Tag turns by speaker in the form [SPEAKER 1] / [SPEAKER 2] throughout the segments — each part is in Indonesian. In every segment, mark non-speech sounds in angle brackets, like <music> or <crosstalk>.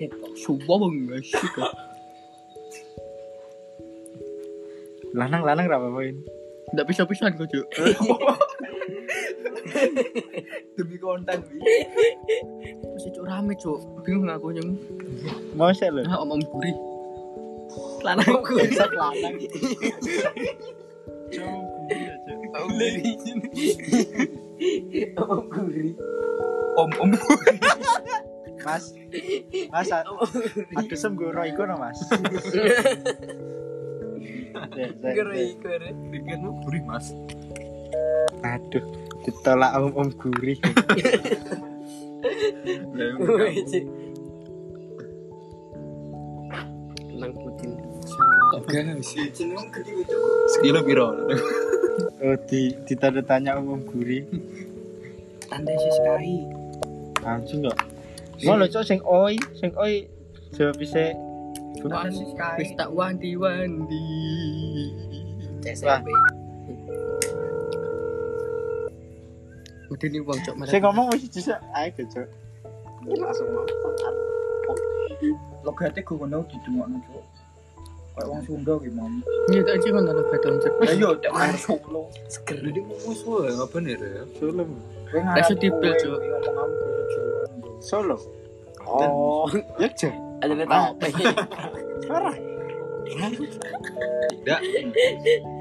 [SPEAKER 1] 해봐. 소바방 맛있어.
[SPEAKER 2] lanang-lanang apa poin
[SPEAKER 1] Nggak bisa-bisa kok, Cuk. Demi konten, Wi. Masih cuk rame, Cuk. Bingung aku nyung.
[SPEAKER 2] mau sih lo
[SPEAKER 1] Nah, om-om gurih. Lanang gurih.
[SPEAKER 2] lanang
[SPEAKER 1] Om gurih.
[SPEAKER 3] Om gurih.
[SPEAKER 1] Om-om gurih.
[SPEAKER 2] mas mas a- aduh sem gue roy no mas Dek, dek, dek.
[SPEAKER 3] Gurih, gurih.
[SPEAKER 1] Pikiranmu gurih, Mas.
[SPEAKER 2] aduh ditolak om om gurih
[SPEAKER 3] Wih, Cik. Nang Putin.
[SPEAKER 1] Gas.
[SPEAKER 3] Jeneng gede itu.
[SPEAKER 1] Sekilo piro?
[SPEAKER 2] oh di ditanda tanya om om gurih
[SPEAKER 3] Tanda sih sekali.
[SPEAKER 2] langsung nggak mau lo cok sing oi sing oi jawab bisa
[SPEAKER 3] Tanda sih sekali.
[SPEAKER 1] Wis tak wanti-wanti.
[SPEAKER 3] CSMP.
[SPEAKER 1] Udah nih uang cok
[SPEAKER 2] saya ngomong masih bisa ayo cok
[SPEAKER 3] Langsung mau.
[SPEAKER 4] logate gue ngono didungokno cuk kayak wong Sunda ki mau
[SPEAKER 1] Iya tak sih ngono badan cok.
[SPEAKER 4] ya yo tek wong Solo
[SPEAKER 3] Seger.
[SPEAKER 5] Jadi mumus wah apa nih ya?
[SPEAKER 2] solo
[SPEAKER 4] kowe ngarep
[SPEAKER 1] Lah, sudipil,
[SPEAKER 4] kowe
[SPEAKER 1] Cuk.
[SPEAKER 4] ngomong aku basa Jawa
[SPEAKER 2] solo oh ya cok
[SPEAKER 3] Ada nih <laughs> apa?
[SPEAKER 2] parah
[SPEAKER 5] Tidak.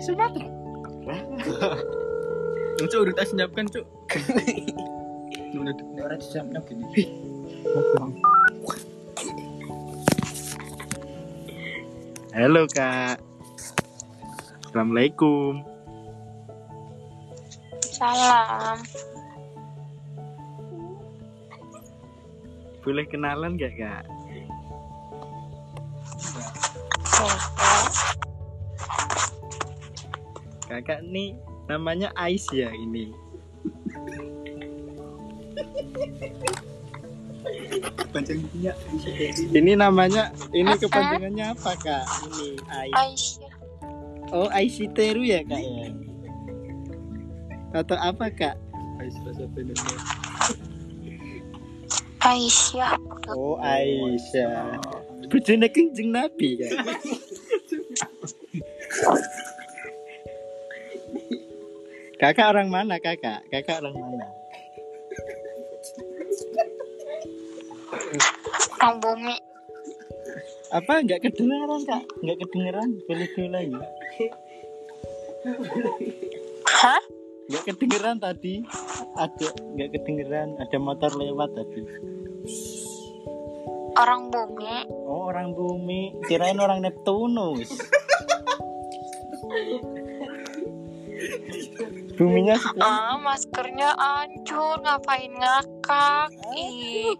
[SPEAKER 2] sumatera
[SPEAKER 1] Yang cok udah tak senyapkan cok. Udah
[SPEAKER 4] nek ora dijampno gini
[SPEAKER 2] halo kak assalamualaikum
[SPEAKER 6] Salam.
[SPEAKER 2] boleh kenalan gak kak kakak nih namanya Ais ya ini
[SPEAKER 4] pancen punya
[SPEAKER 2] ini namanya ini
[SPEAKER 6] Apa?
[SPEAKER 2] kepanjangannya apa kak ini Ais
[SPEAKER 6] Aisyah.
[SPEAKER 2] oh Aisiteru ya kak ya atau apa kak
[SPEAKER 6] Aisyah.
[SPEAKER 2] oh Aisyah bujune kenjeng nabi kak kakak orang mana kakak kakak orang mana
[SPEAKER 6] Orang bumi.
[SPEAKER 2] apa nggak kedengeran kak nggak kedengeran boleh diulangi
[SPEAKER 6] Hah?
[SPEAKER 2] nggak kedengeran tadi ada nggak kedengeran ada motor lewat tadi
[SPEAKER 6] Orang bumi.
[SPEAKER 2] oh orang bumi kirain orang Neptunus buminya sebelah.
[SPEAKER 6] Ah, maskernya hancur. Ngapain ngakak? Ih.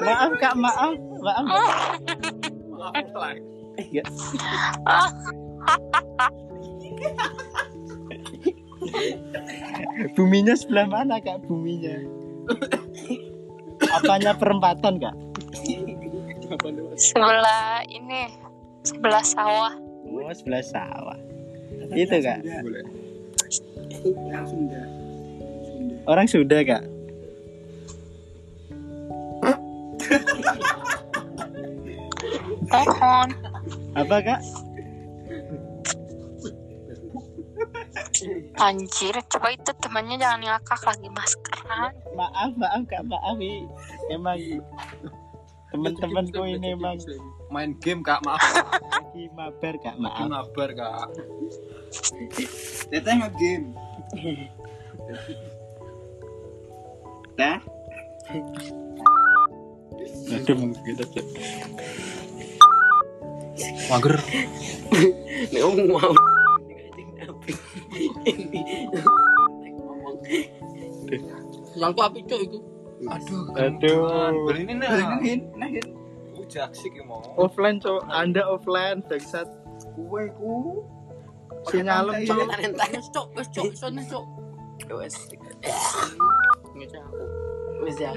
[SPEAKER 2] maaf kak maaf maaf Eh, nggak. buminya sebelah mana kak buminya apanya perempatan kak
[SPEAKER 6] Sebelah ini. Sebelah sawah.
[SPEAKER 2] Oh, sebelah sawah. Itu, Kak.
[SPEAKER 1] Boleh.
[SPEAKER 4] langsung dah Sunda
[SPEAKER 2] Orang Sunda, Kak.
[SPEAKER 6] Pohon.
[SPEAKER 2] Apa, Kak?
[SPEAKER 6] Anjir. Coba itu temannya jangan ngakak lagi maskeran.
[SPEAKER 2] Maaf, maaf, Kak. Maaf, Wi. Emang temen-temenku ini emang
[SPEAKER 5] Main game kak maaf
[SPEAKER 2] lagi mabar, Kak. Maaf.
[SPEAKER 5] mabar kak.
[SPEAKER 4] teteh nge-game
[SPEAKER 2] Aduh, gitu.
[SPEAKER 5] Mager.
[SPEAKER 3] Nih om mau. Anjing nabi. Ini. Ngomong.
[SPEAKER 1] Langku api cok itu.
[SPEAKER 5] Aduh.
[SPEAKER 2] Aduh.
[SPEAKER 5] Beli ini nih.
[SPEAKER 4] nah hin nah hin
[SPEAKER 5] Ujak sih ki, mau.
[SPEAKER 2] Offline, Cok. Anda offline, bangsat.
[SPEAKER 4] kowe ku
[SPEAKER 2] Sinyalem, Cok.
[SPEAKER 3] Tangan-tangan.
[SPEAKER 1] Wes cok, wes cok, sana cok.
[SPEAKER 3] Wes.
[SPEAKER 1] Ngece aku.
[SPEAKER 3] Wes ya.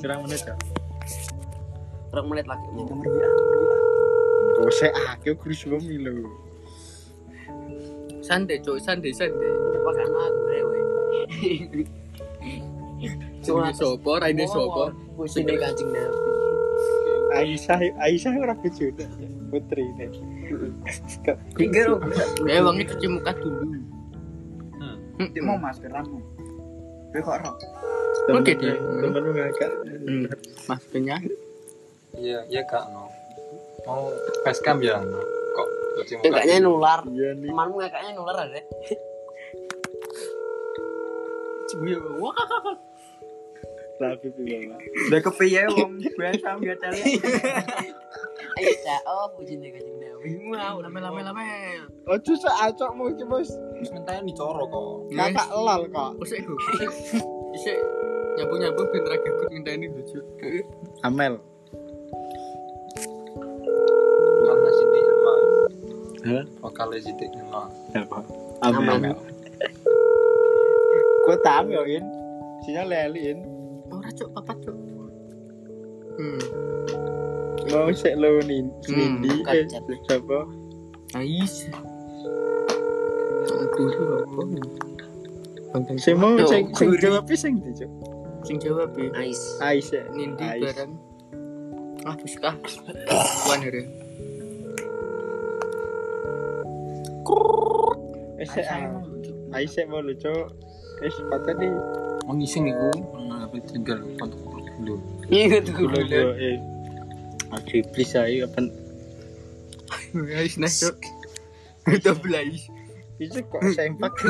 [SPEAKER 2] Kurang menit, Kak.
[SPEAKER 3] Rong menit lagi.
[SPEAKER 4] nomor WA
[SPEAKER 2] Oh, saya akeh guru suami lho.
[SPEAKER 1] Santai cok, santai santai.
[SPEAKER 3] Apa karena aku rewe.
[SPEAKER 1] Jenenge sapa? Raine sapa?
[SPEAKER 3] Kucing dari kancing nabi.
[SPEAKER 2] Aisyah Aisyah ora kejutan putri ini
[SPEAKER 3] Tiga dong.
[SPEAKER 1] Ya wangi cuci muka dulu.
[SPEAKER 5] Hmm.
[SPEAKER 4] Dia mau masker aku. Dia kok rok.
[SPEAKER 1] Oke deh.
[SPEAKER 2] temenmu ngakak
[SPEAKER 1] Hmm. Maskernya
[SPEAKER 5] Iya, iya kak no. Mau facecam ya no. Kok cuci muka?
[SPEAKER 3] Kakaknya nular.
[SPEAKER 2] iya nih
[SPEAKER 3] Temanmu kakaknya nular ada.
[SPEAKER 2] tapi bilang
[SPEAKER 4] Udah kepiye wong biasa biasa lihat.
[SPEAKER 3] Ayo cak. Oh kucing dari kancing
[SPEAKER 1] Ya,
[SPEAKER 3] nabi.
[SPEAKER 1] Wow, lame-lame-lame.
[SPEAKER 2] oh justru acokmu iki bos
[SPEAKER 5] Terus mentahnya dicorok kok.
[SPEAKER 2] ngakak lal kok
[SPEAKER 1] Usik go. Isik Oh, nyambung-nyambung ben ra gebut ngenteni bojo.
[SPEAKER 2] Amel
[SPEAKER 5] Karena sidik ilmah.
[SPEAKER 2] Hah?
[SPEAKER 5] Vokalnya sidik ilmah.
[SPEAKER 2] apa
[SPEAKER 5] Iya,
[SPEAKER 2] Amel kok tam yo in sinyal ya, leli in
[SPEAKER 1] Ora cuk papat cuk. Hmm.
[SPEAKER 2] mau sik lo nin
[SPEAKER 3] Hmm,
[SPEAKER 2] Nindi eh
[SPEAKER 3] Kacat nih.
[SPEAKER 2] siapa
[SPEAKER 1] Ais. Guru Nah, apa? Bangkang
[SPEAKER 2] sing mau
[SPEAKER 3] Yo,
[SPEAKER 2] sing sing
[SPEAKER 3] gurih.
[SPEAKER 2] jawab iki sing dicuk
[SPEAKER 1] sing jawab ya.
[SPEAKER 3] Ais.
[SPEAKER 2] Aisyah
[SPEAKER 1] Nindi
[SPEAKER 2] Aisyah.
[SPEAKER 1] bareng. Ah, buskah. Wan hari.
[SPEAKER 2] Aisyah Aisyah mau ah. lucu Eh, Wis patah nih
[SPEAKER 5] Mengising iku ngambil tinggal untuk dulu.
[SPEAKER 3] Iya tuh.
[SPEAKER 2] Kulo yo eh Aduh iblis ae kapan
[SPEAKER 1] Ais nah cuk. Itu belais.
[SPEAKER 2] Itu kok sempak <laughs>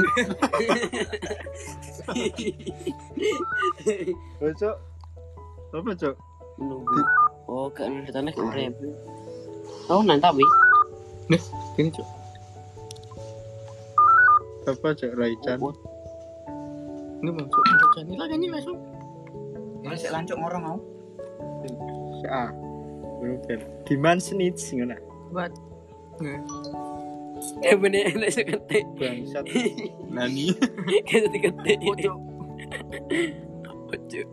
[SPEAKER 2] Lucu Apa cok?
[SPEAKER 3] Menunggu. Oh kak nular tanah keren. Oh nantap wi.
[SPEAKER 1] Gini cuk.
[SPEAKER 2] Apa cok Raichan?
[SPEAKER 1] Ini mau cuk. Cuk, Ini lagi ini langsung.
[SPEAKER 4] Mulai sik lancuk ngorong aku.
[SPEAKER 2] Ah Ruben Diman snitch ngono
[SPEAKER 1] Buat.
[SPEAKER 3] Eh bener enak sekete.
[SPEAKER 2] Bangsat
[SPEAKER 5] Nani?
[SPEAKER 3] Kayak sekete.
[SPEAKER 1] Pojok.
[SPEAKER 3] Pojok.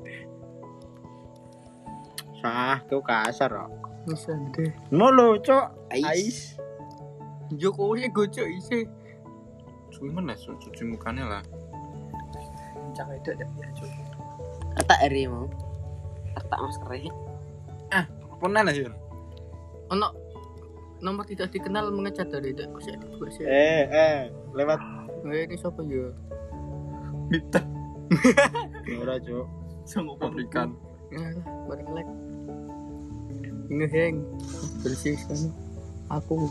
[SPEAKER 2] Sah tuh kasar kok
[SPEAKER 1] Nisan deh.
[SPEAKER 2] Mau lucu
[SPEAKER 3] Ais.
[SPEAKER 2] Ais
[SPEAKER 1] Jokowi gocok isi.
[SPEAKER 5] Cuci mana? Su- Cuci mukanya lah.
[SPEAKER 4] Cak wedok ya, ya, Cuk.
[SPEAKER 3] Kata eri mau. Kata maskernya.
[SPEAKER 5] Pernah lah Yun.
[SPEAKER 1] Ono nomor tidak dikenal mengejar dari tidak bisa dibuat sih.
[SPEAKER 2] Eh eh Lewat
[SPEAKER 1] Eh, ini siapa ya?
[SPEAKER 2] Ora cok
[SPEAKER 1] Sama
[SPEAKER 5] Pabrikan.
[SPEAKER 1] Nah, bareng lek. Ngeheng. Bersih sana. Aku.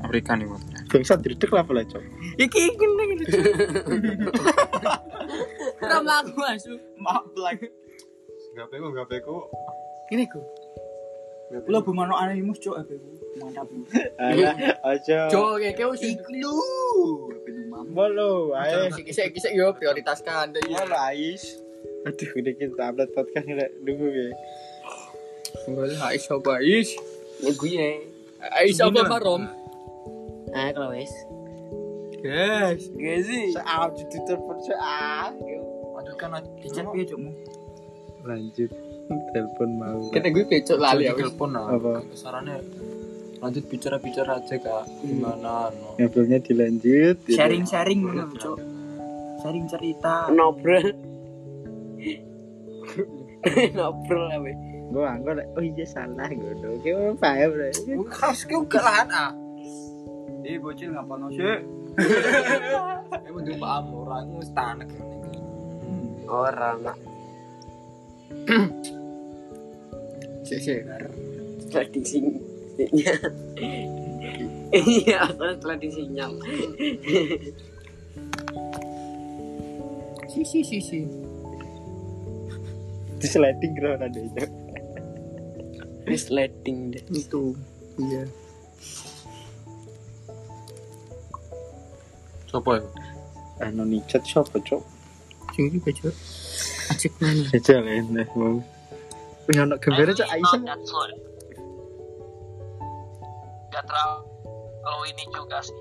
[SPEAKER 5] Pabrikan iku.
[SPEAKER 2] Bangsat duduk lah pula cok
[SPEAKER 1] Iki kena gitu. Ramah aku masuk.
[SPEAKER 4] Maaf lagi.
[SPEAKER 5] Gapeku, gapeku.
[SPEAKER 1] Ini ku.
[SPEAKER 4] Lo bumono animus cuk aku. Mantap.
[SPEAKER 2] <laughs> Alah Ojo
[SPEAKER 1] Cok, kayak kau sih. Lu.
[SPEAKER 2] Mau lu ae
[SPEAKER 1] Kisah kisah Eh, yo prioritaskan.
[SPEAKER 2] Mau lu Ais Aduh udah kita upload podcast ini Lek. Nunggu ya
[SPEAKER 1] Boleh, Ais apa Ais?
[SPEAKER 3] Ya gue ya.
[SPEAKER 1] Ais apa Marom?
[SPEAKER 3] Nah kalau wes.
[SPEAKER 1] Guys,
[SPEAKER 3] Gak sih.
[SPEAKER 2] Soal di telepon soal
[SPEAKER 5] Aduh kan
[SPEAKER 4] Dicek
[SPEAKER 3] ya,
[SPEAKER 4] piye cukmu?
[SPEAKER 2] Lanjut <laughs> Telepon mau
[SPEAKER 1] kita gue becok ya,
[SPEAKER 5] lali
[SPEAKER 1] lali
[SPEAKER 5] ya,
[SPEAKER 1] aku.
[SPEAKER 5] telepon lah.
[SPEAKER 2] Apa?
[SPEAKER 5] Sarannya lanjut bicara-bicara aja kak. Gimana? No.
[SPEAKER 2] Ngobrolnya dilanjut gitu.
[SPEAKER 4] Sharing-sharing ngono cuk. Sharing cerita.
[SPEAKER 3] Nobrol. Nobrol lah wes.
[SPEAKER 2] Gue anggur Oh iya salah gue Oke apa ya bro
[SPEAKER 4] Khas ki uga lahan ah. Eh bocil ngapalno sih?
[SPEAKER 5] Emang dia paham orang itu tanek ini.
[SPEAKER 3] Orang nak
[SPEAKER 1] Sik sik.
[SPEAKER 3] trading sinyal. Iya, asalnya trading sinyal.
[SPEAKER 1] Si si si si.
[SPEAKER 2] Di sliding ground ada itu
[SPEAKER 3] Misleading deh.
[SPEAKER 1] Itu. Iya.
[SPEAKER 5] Coba ya.
[SPEAKER 2] Anu nih chat siapa cok
[SPEAKER 1] Sing iki becok. Ajik mana?
[SPEAKER 2] Aja lah ini mau Punya anak gembira
[SPEAKER 4] Ah,
[SPEAKER 2] cok Aisyah
[SPEAKER 7] Gak terlalu ini juga sih.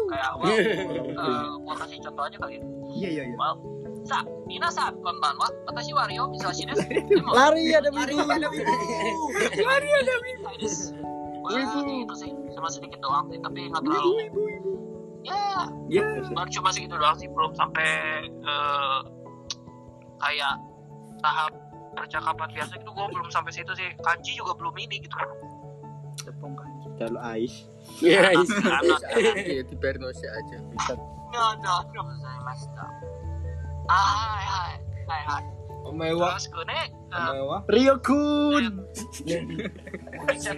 [SPEAKER 7] Kayak well,
[SPEAKER 2] Iya.
[SPEAKER 7] eh, gua kasih contoh aja kali ya.
[SPEAKER 4] Iya iya iya.
[SPEAKER 7] Sa, mina sa, konban wa, watashi wario, misashi
[SPEAKER 2] <laughs>
[SPEAKER 7] desu.
[SPEAKER 2] Lari ada biru <laughs>
[SPEAKER 7] Wah, itu sih, cuma sedikit doang sih, tapi nggak terlalu. Ya,
[SPEAKER 2] Ya
[SPEAKER 7] baru cuma segitu doang sih, belum sampai eh, kayak tahap percakapan biasa gitu gue belum sampai situ sih kanji juga belum ini gitu
[SPEAKER 4] Tepung kanji.
[SPEAKER 2] kalau ais
[SPEAKER 3] Ya,
[SPEAKER 7] anak
[SPEAKER 1] Iya, di Bernosi aja.
[SPEAKER 7] no no no gozaimashita. ah hai hai hai
[SPEAKER 5] Omewa,
[SPEAKER 7] terus gue nih eh,
[SPEAKER 5] omewa.
[SPEAKER 2] Ah, Rio kun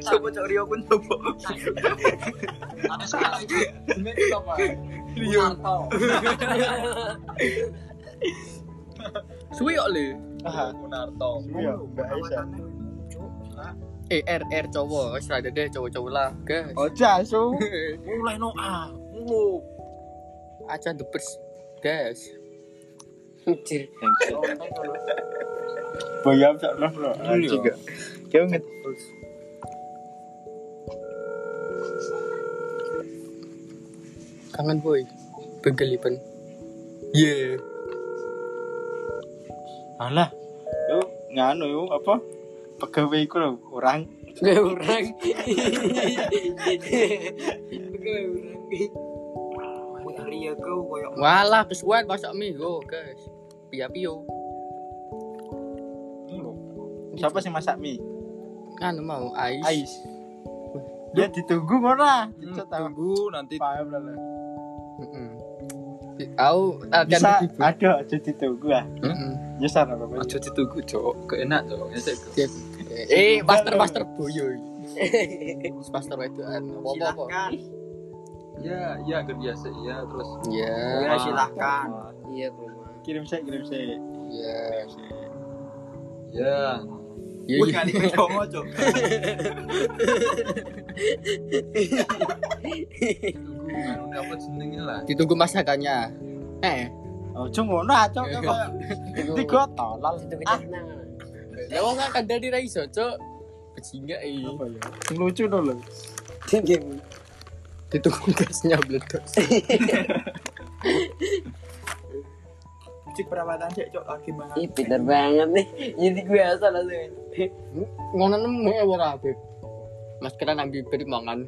[SPEAKER 1] Coba cok Rio pun coba.
[SPEAKER 7] habis kelas
[SPEAKER 5] Ini itu apa?
[SPEAKER 1] Rio.
[SPEAKER 5] Atau
[SPEAKER 1] Suwi kok le.
[SPEAKER 5] Munarto.
[SPEAKER 2] Iya, Mbak Aisyah.
[SPEAKER 1] Eh R R cowok, wis ada deh cowok-cowok lah, guys.
[SPEAKER 2] Ojo asu.
[SPEAKER 1] Mulai no ah, mulu. Aja depes, guys.
[SPEAKER 3] anjir.
[SPEAKER 2] Bayam sak roh roh.
[SPEAKER 5] Iya.
[SPEAKER 2] Juga. Kau nget.
[SPEAKER 1] Kangen boy. Begelipan. Ye.
[SPEAKER 2] Alah. Yo nganu yo apa? Pegawai iku lho orang
[SPEAKER 3] Gue orang. Gue orang.
[SPEAKER 1] ya,
[SPEAKER 4] Ria kau koyok
[SPEAKER 1] Walah kesuwen masak mie go, guys. Pia pio.
[SPEAKER 2] siapa sih masak mie?
[SPEAKER 1] Kan mau ais.
[SPEAKER 2] Ais. Dia ditunggu ora?
[SPEAKER 5] Hmm,
[SPEAKER 2] Dicet tau.
[SPEAKER 5] Tunggu nanti
[SPEAKER 2] Paham lah, lah.
[SPEAKER 1] Heeh. Aku akan
[SPEAKER 2] Bisa
[SPEAKER 1] ditipu.
[SPEAKER 2] aduh aja ditunggu ah.
[SPEAKER 1] Heeh.
[SPEAKER 2] Nyesar apa apa.
[SPEAKER 5] aja ditunggu cok, keenak cok. Ya, cek.
[SPEAKER 1] Eh, master master boyo. Master itu apa apa.
[SPEAKER 4] silahkan.
[SPEAKER 5] Ya, ya biasa ya terus. Ah,
[SPEAKER 1] Ya,
[SPEAKER 4] Ya silahkan.
[SPEAKER 3] Iya, Bro.
[SPEAKER 2] Kirim saya, kirim saya.
[SPEAKER 1] ya.
[SPEAKER 5] Ya.
[SPEAKER 1] Ya,
[SPEAKER 4] Wih
[SPEAKER 1] ya.
[SPEAKER 4] kali kau cowok cok.
[SPEAKER 5] Tunggu nganu apa jenenge lah.
[SPEAKER 1] Ditunggu masakannya. Eh,
[SPEAKER 2] Ojo ngono ah, cok kok koyo tiga tolol.
[SPEAKER 3] Itu
[SPEAKER 2] Ah,
[SPEAKER 3] kenang.
[SPEAKER 1] ya wong akan dari ra iso, Cuk. eh. Bajinga iki.
[SPEAKER 2] apa ya? Lucu dong lho.
[SPEAKER 3] Tinggi.
[SPEAKER 1] Ditunggu gasnya meledak.
[SPEAKER 4] Cik perawatan cek cok lagi mana?
[SPEAKER 3] Ih, pinter banget nih. Jadi gue asal langsung.
[SPEAKER 1] Ngono nemu ya ora Beb. Maskeran nang bibir mangan.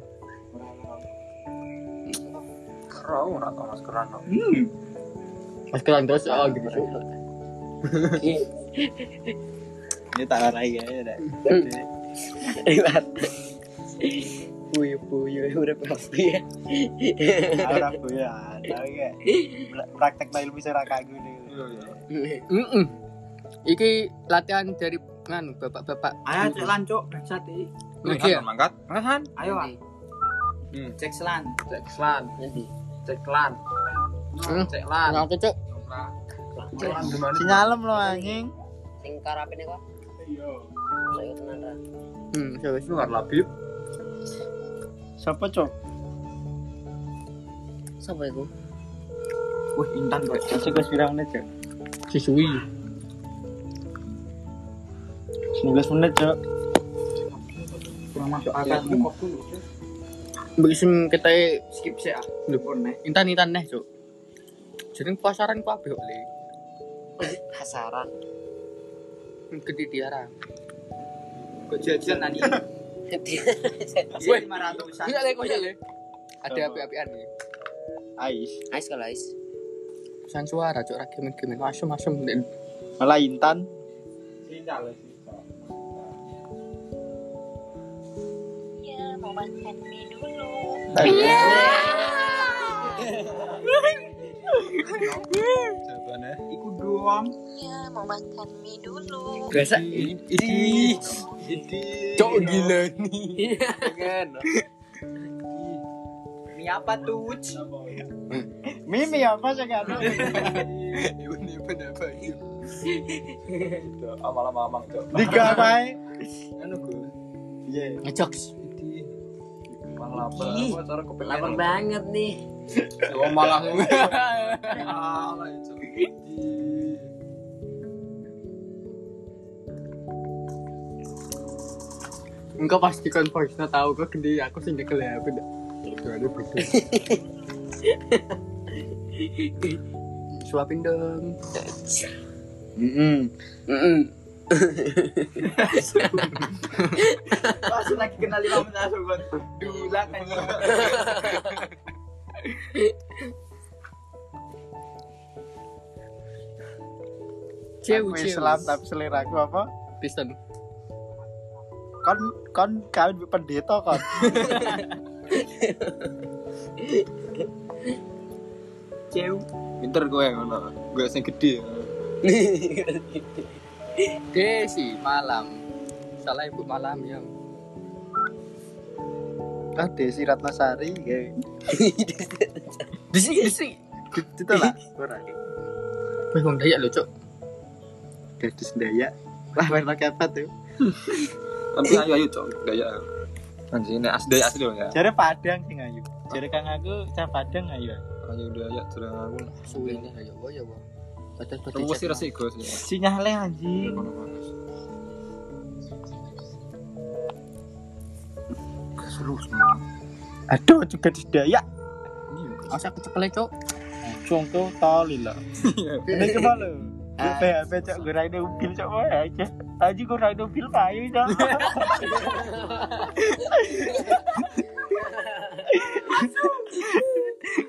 [SPEAKER 5] Kau ora tau maskeran no.
[SPEAKER 1] Hmm. Maskeran terus oh gitu. Cuk.
[SPEAKER 3] Ih,
[SPEAKER 2] Ini tak larai ya. ya, <laughs> Dek.
[SPEAKER 3] lewat. Puyo puyo udah pasti ya.
[SPEAKER 2] Ora boyan. Tahu ya. Praktek tak ilmu sira kagak gitu.
[SPEAKER 1] Heeh. Iki latihan dari kan bapak-bapak.
[SPEAKER 4] Ayo cek lan cok. Bangsat ih.
[SPEAKER 1] Oke.
[SPEAKER 5] Mangkat, mangkat. Mangkat.
[SPEAKER 4] Ayo ah.
[SPEAKER 5] Hmm.
[SPEAKER 4] Cek selan.
[SPEAKER 5] Cek lan,
[SPEAKER 3] Nanti.
[SPEAKER 5] cek lan,
[SPEAKER 1] Hmm.
[SPEAKER 5] cek lan.
[SPEAKER 1] Nah, Cuk.
[SPEAKER 5] Lan gimana?
[SPEAKER 2] Sinyalem lo anjing.
[SPEAKER 3] Sing karapin kok. Iya. Saya tenan ra.
[SPEAKER 1] Hmm, coba
[SPEAKER 5] Itu nggak labib.
[SPEAKER 2] Siapa cok?
[SPEAKER 3] Sapa iku?
[SPEAKER 4] Wih intan kok.
[SPEAKER 2] Masih kelas berapa menit cok?
[SPEAKER 1] sisui.
[SPEAKER 2] 19 menit cok.
[SPEAKER 4] Kurang masuk akal.
[SPEAKER 1] Mbok sing ketae
[SPEAKER 4] Skip sih ah.
[SPEAKER 1] Lho.
[SPEAKER 4] Pun nek.
[SPEAKER 1] intan-intan neh, Cuk. Jeneng pasaran ku abeh kok, le.
[SPEAKER 3] Kasaran.
[SPEAKER 1] Gede tiara.
[SPEAKER 4] Kok jajan tadi?
[SPEAKER 1] Wih.
[SPEAKER 4] Wih 500-an.
[SPEAKER 1] Iya, le, kok iya, le. Ada api-apian nih.
[SPEAKER 2] Ais.
[SPEAKER 3] <laughs> Ais kalau ais.
[SPEAKER 1] Pesan suara, Cuk, ra gemen-gemen. Masem-masem Nek.
[SPEAKER 2] Malah Intan.
[SPEAKER 6] Ya, mau makan mie dulu.
[SPEAKER 5] Jawabannya.
[SPEAKER 4] Iku doang.
[SPEAKER 6] Ya, mau makan mie dulu.
[SPEAKER 1] Biasa ini. Cok gila nih.
[SPEAKER 4] Mie apa tuh?
[SPEAKER 2] Mimi apa sih kan?
[SPEAKER 1] Ini pada apa ya?
[SPEAKER 5] Cok, Amal-amal amang cok.
[SPEAKER 2] Tiga baik.
[SPEAKER 5] Anu gue.
[SPEAKER 2] Iya.
[SPEAKER 1] Ngejokes.
[SPEAKER 5] Jadi, Malah apa? Apa cara kepengen?
[SPEAKER 3] Lapar banget nih.
[SPEAKER 5] Oh, malah
[SPEAKER 1] <laughs>
[SPEAKER 5] Malah itu.
[SPEAKER 1] Engkau pastikan voice nya tahu kok gede aku sing nyekel ya aku. ndak. Itu ada betul. Suapin dong.
[SPEAKER 2] Mm
[SPEAKER 4] Langsung lagi kenal lima menit langsung gue. Dulang kan.
[SPEAKER 1] Cewu,
[SPEAKER 2] aku
[SPEAKER 1] cewu.
[SPEAKER 2] Islam tapi selera aku apa?
[SPEAKER 1] Kristen.
[SPEAKER 2] Kon kon kawin mbek pendeta kon.
[SPEAKER 3] Cew.
[SPEAKER 5] Pinter gue ngono. Gue sing gede.
[SPEAKER 1] Desi malam. Salah ibu malam ya.
[SPEAKER 2] Ah Desi Ratnasari kayak
[SPEAKER 1] Desi desi.
[SPEAKER 2] gitu lah. Ora.
[SPEAKER 1] Bingung dayak lo cok.
[SPEAKER 2] Desi Dayak. Lah warna kepet tuh.
[SPEAKER 5] Tapi ayo Kan ayo cok. Kan Daya. Anjing ini asli daya asli loh ya.
[SPEAKER 2] Jare Padang sing ayu. Jare Kang aku cah Padang ayu.
[SPEAKER 5] Ayo daya jalan aku.
[SPEAKER 1] Suwe ini ayo wah ya wah. Ada ada-
[SPEAKER 5] Terus sih resik gue sih.
[SPEAKER 2] Sinyale anjing. Aduh juga di Dayak.
[SPEAKER 1] Masa kecekel cok.
[SPEAKER 2] Contoh tali lah. Ini coba lo. PHP cok gue raine mobil cok mau aja. Aji gue raine mobil payu <laughs> cok.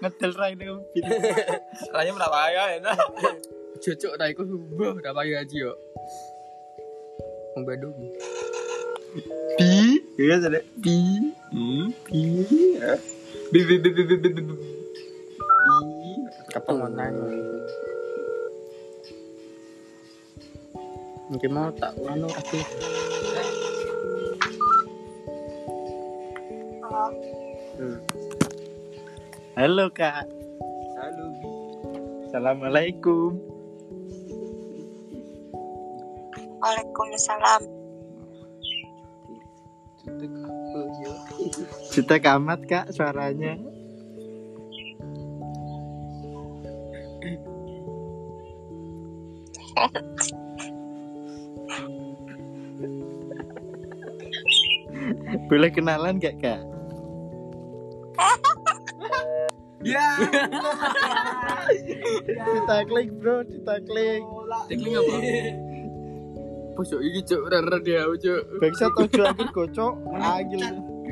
[SPEAKER 2] Ngedel raine mobil.
[SPEAKER 5] Raya berapa ya? Enak.
[SPEAKER 1] Cocok dah iku wah dah payu aji yo. Wong Bandung.
[SPEAKER 2] Bi, iya jadi bi,
[SPEAKER 5] Hmm.
[SPEAKER 2] bi,
[SPEAKER 5] Bi bi bi bi bi bi bi. bi.
[SPEAKER 2] bi.
[SPEAKER 1] Kepengenan. Mungkin mau tak anu aku
[SPEAKER 2] Halo kak.
[SPEAKER 5] Halo.
[SPEAKER 2] Assalamualaikum.
[SPEAKER 6] Waalaikumsalam.
[SPEAKER 2] Jutek amat kak suaranya. Boleh kenalan gak kak? Ya. Ditaklik bro, ditaklik.
[SPEAKER 1] Tekling apa? Pojok iki cok rara dia cok.
[SPEAKER 2] Bangsa tojo aku gocok, agil.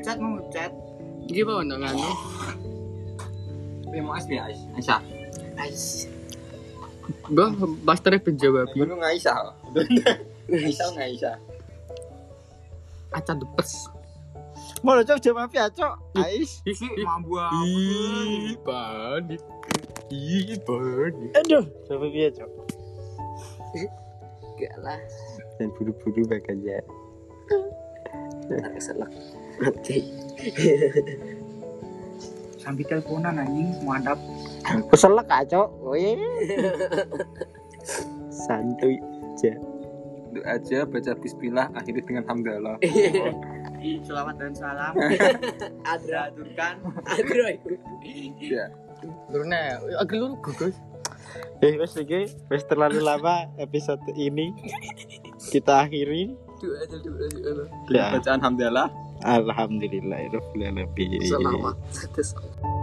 [SPEAKER 4] Cat mau cat.
[SPEAKER 1] Iki apa nang anu?
[SPEAKER 5] Memang asli Aisyah.
[SPEAKER 1] Bah, masternya penjawab.
[SPEAKER 5] Gunung Aisyah. Aisyah nggak Aisyah.
[SPEAKER 1] Acan depes.
[SPEAKER 2] Mau cok jawab ya cok. Ais.
[SPEAKER 4] Isi mambu aku.
[SPEAKER 1] Ih, panik. Ih, panik.
[SPEAKER 2] Aduh, coba ya cok.
[SPEAKER 3] Gak lah.
[SPEAKER 2] Dan buru-buru baik aja.
[SPEAKER 3] Aku selek. Oke.
[SPEAKER 4] Sambil teleponan anjing mantap.
[SPEAKER 2] Keselak kak cok. <laughs> Wih. Santuy aja.
[SPEAKER 5] Duduk aja baca bismillah akhiri dengan hamdalah.
[SPEAKER 4] Selamat dan salam.
[SPEAKER 3] Adra.
[SPEAKER 4] Aturkan.
[SPEAKER 3] Adra iku.
[SPEAKER 5] Iya.
[SPEAKER 1] Lurna, agak lur gugus.
[SPEAKER 2] Eh wes lagi, wes terlalu lama episode ini kita akhiri.
[SPEAKER 1] Duh, aja duh, aja.
[SPEAKER 2] Ya,
[SPEAKER 5] Bacaan hamdalah.
[SPEAKER 2] alhamdulillah. Alhamdulillah.
[SPEAKER 3] Selamat. Terus.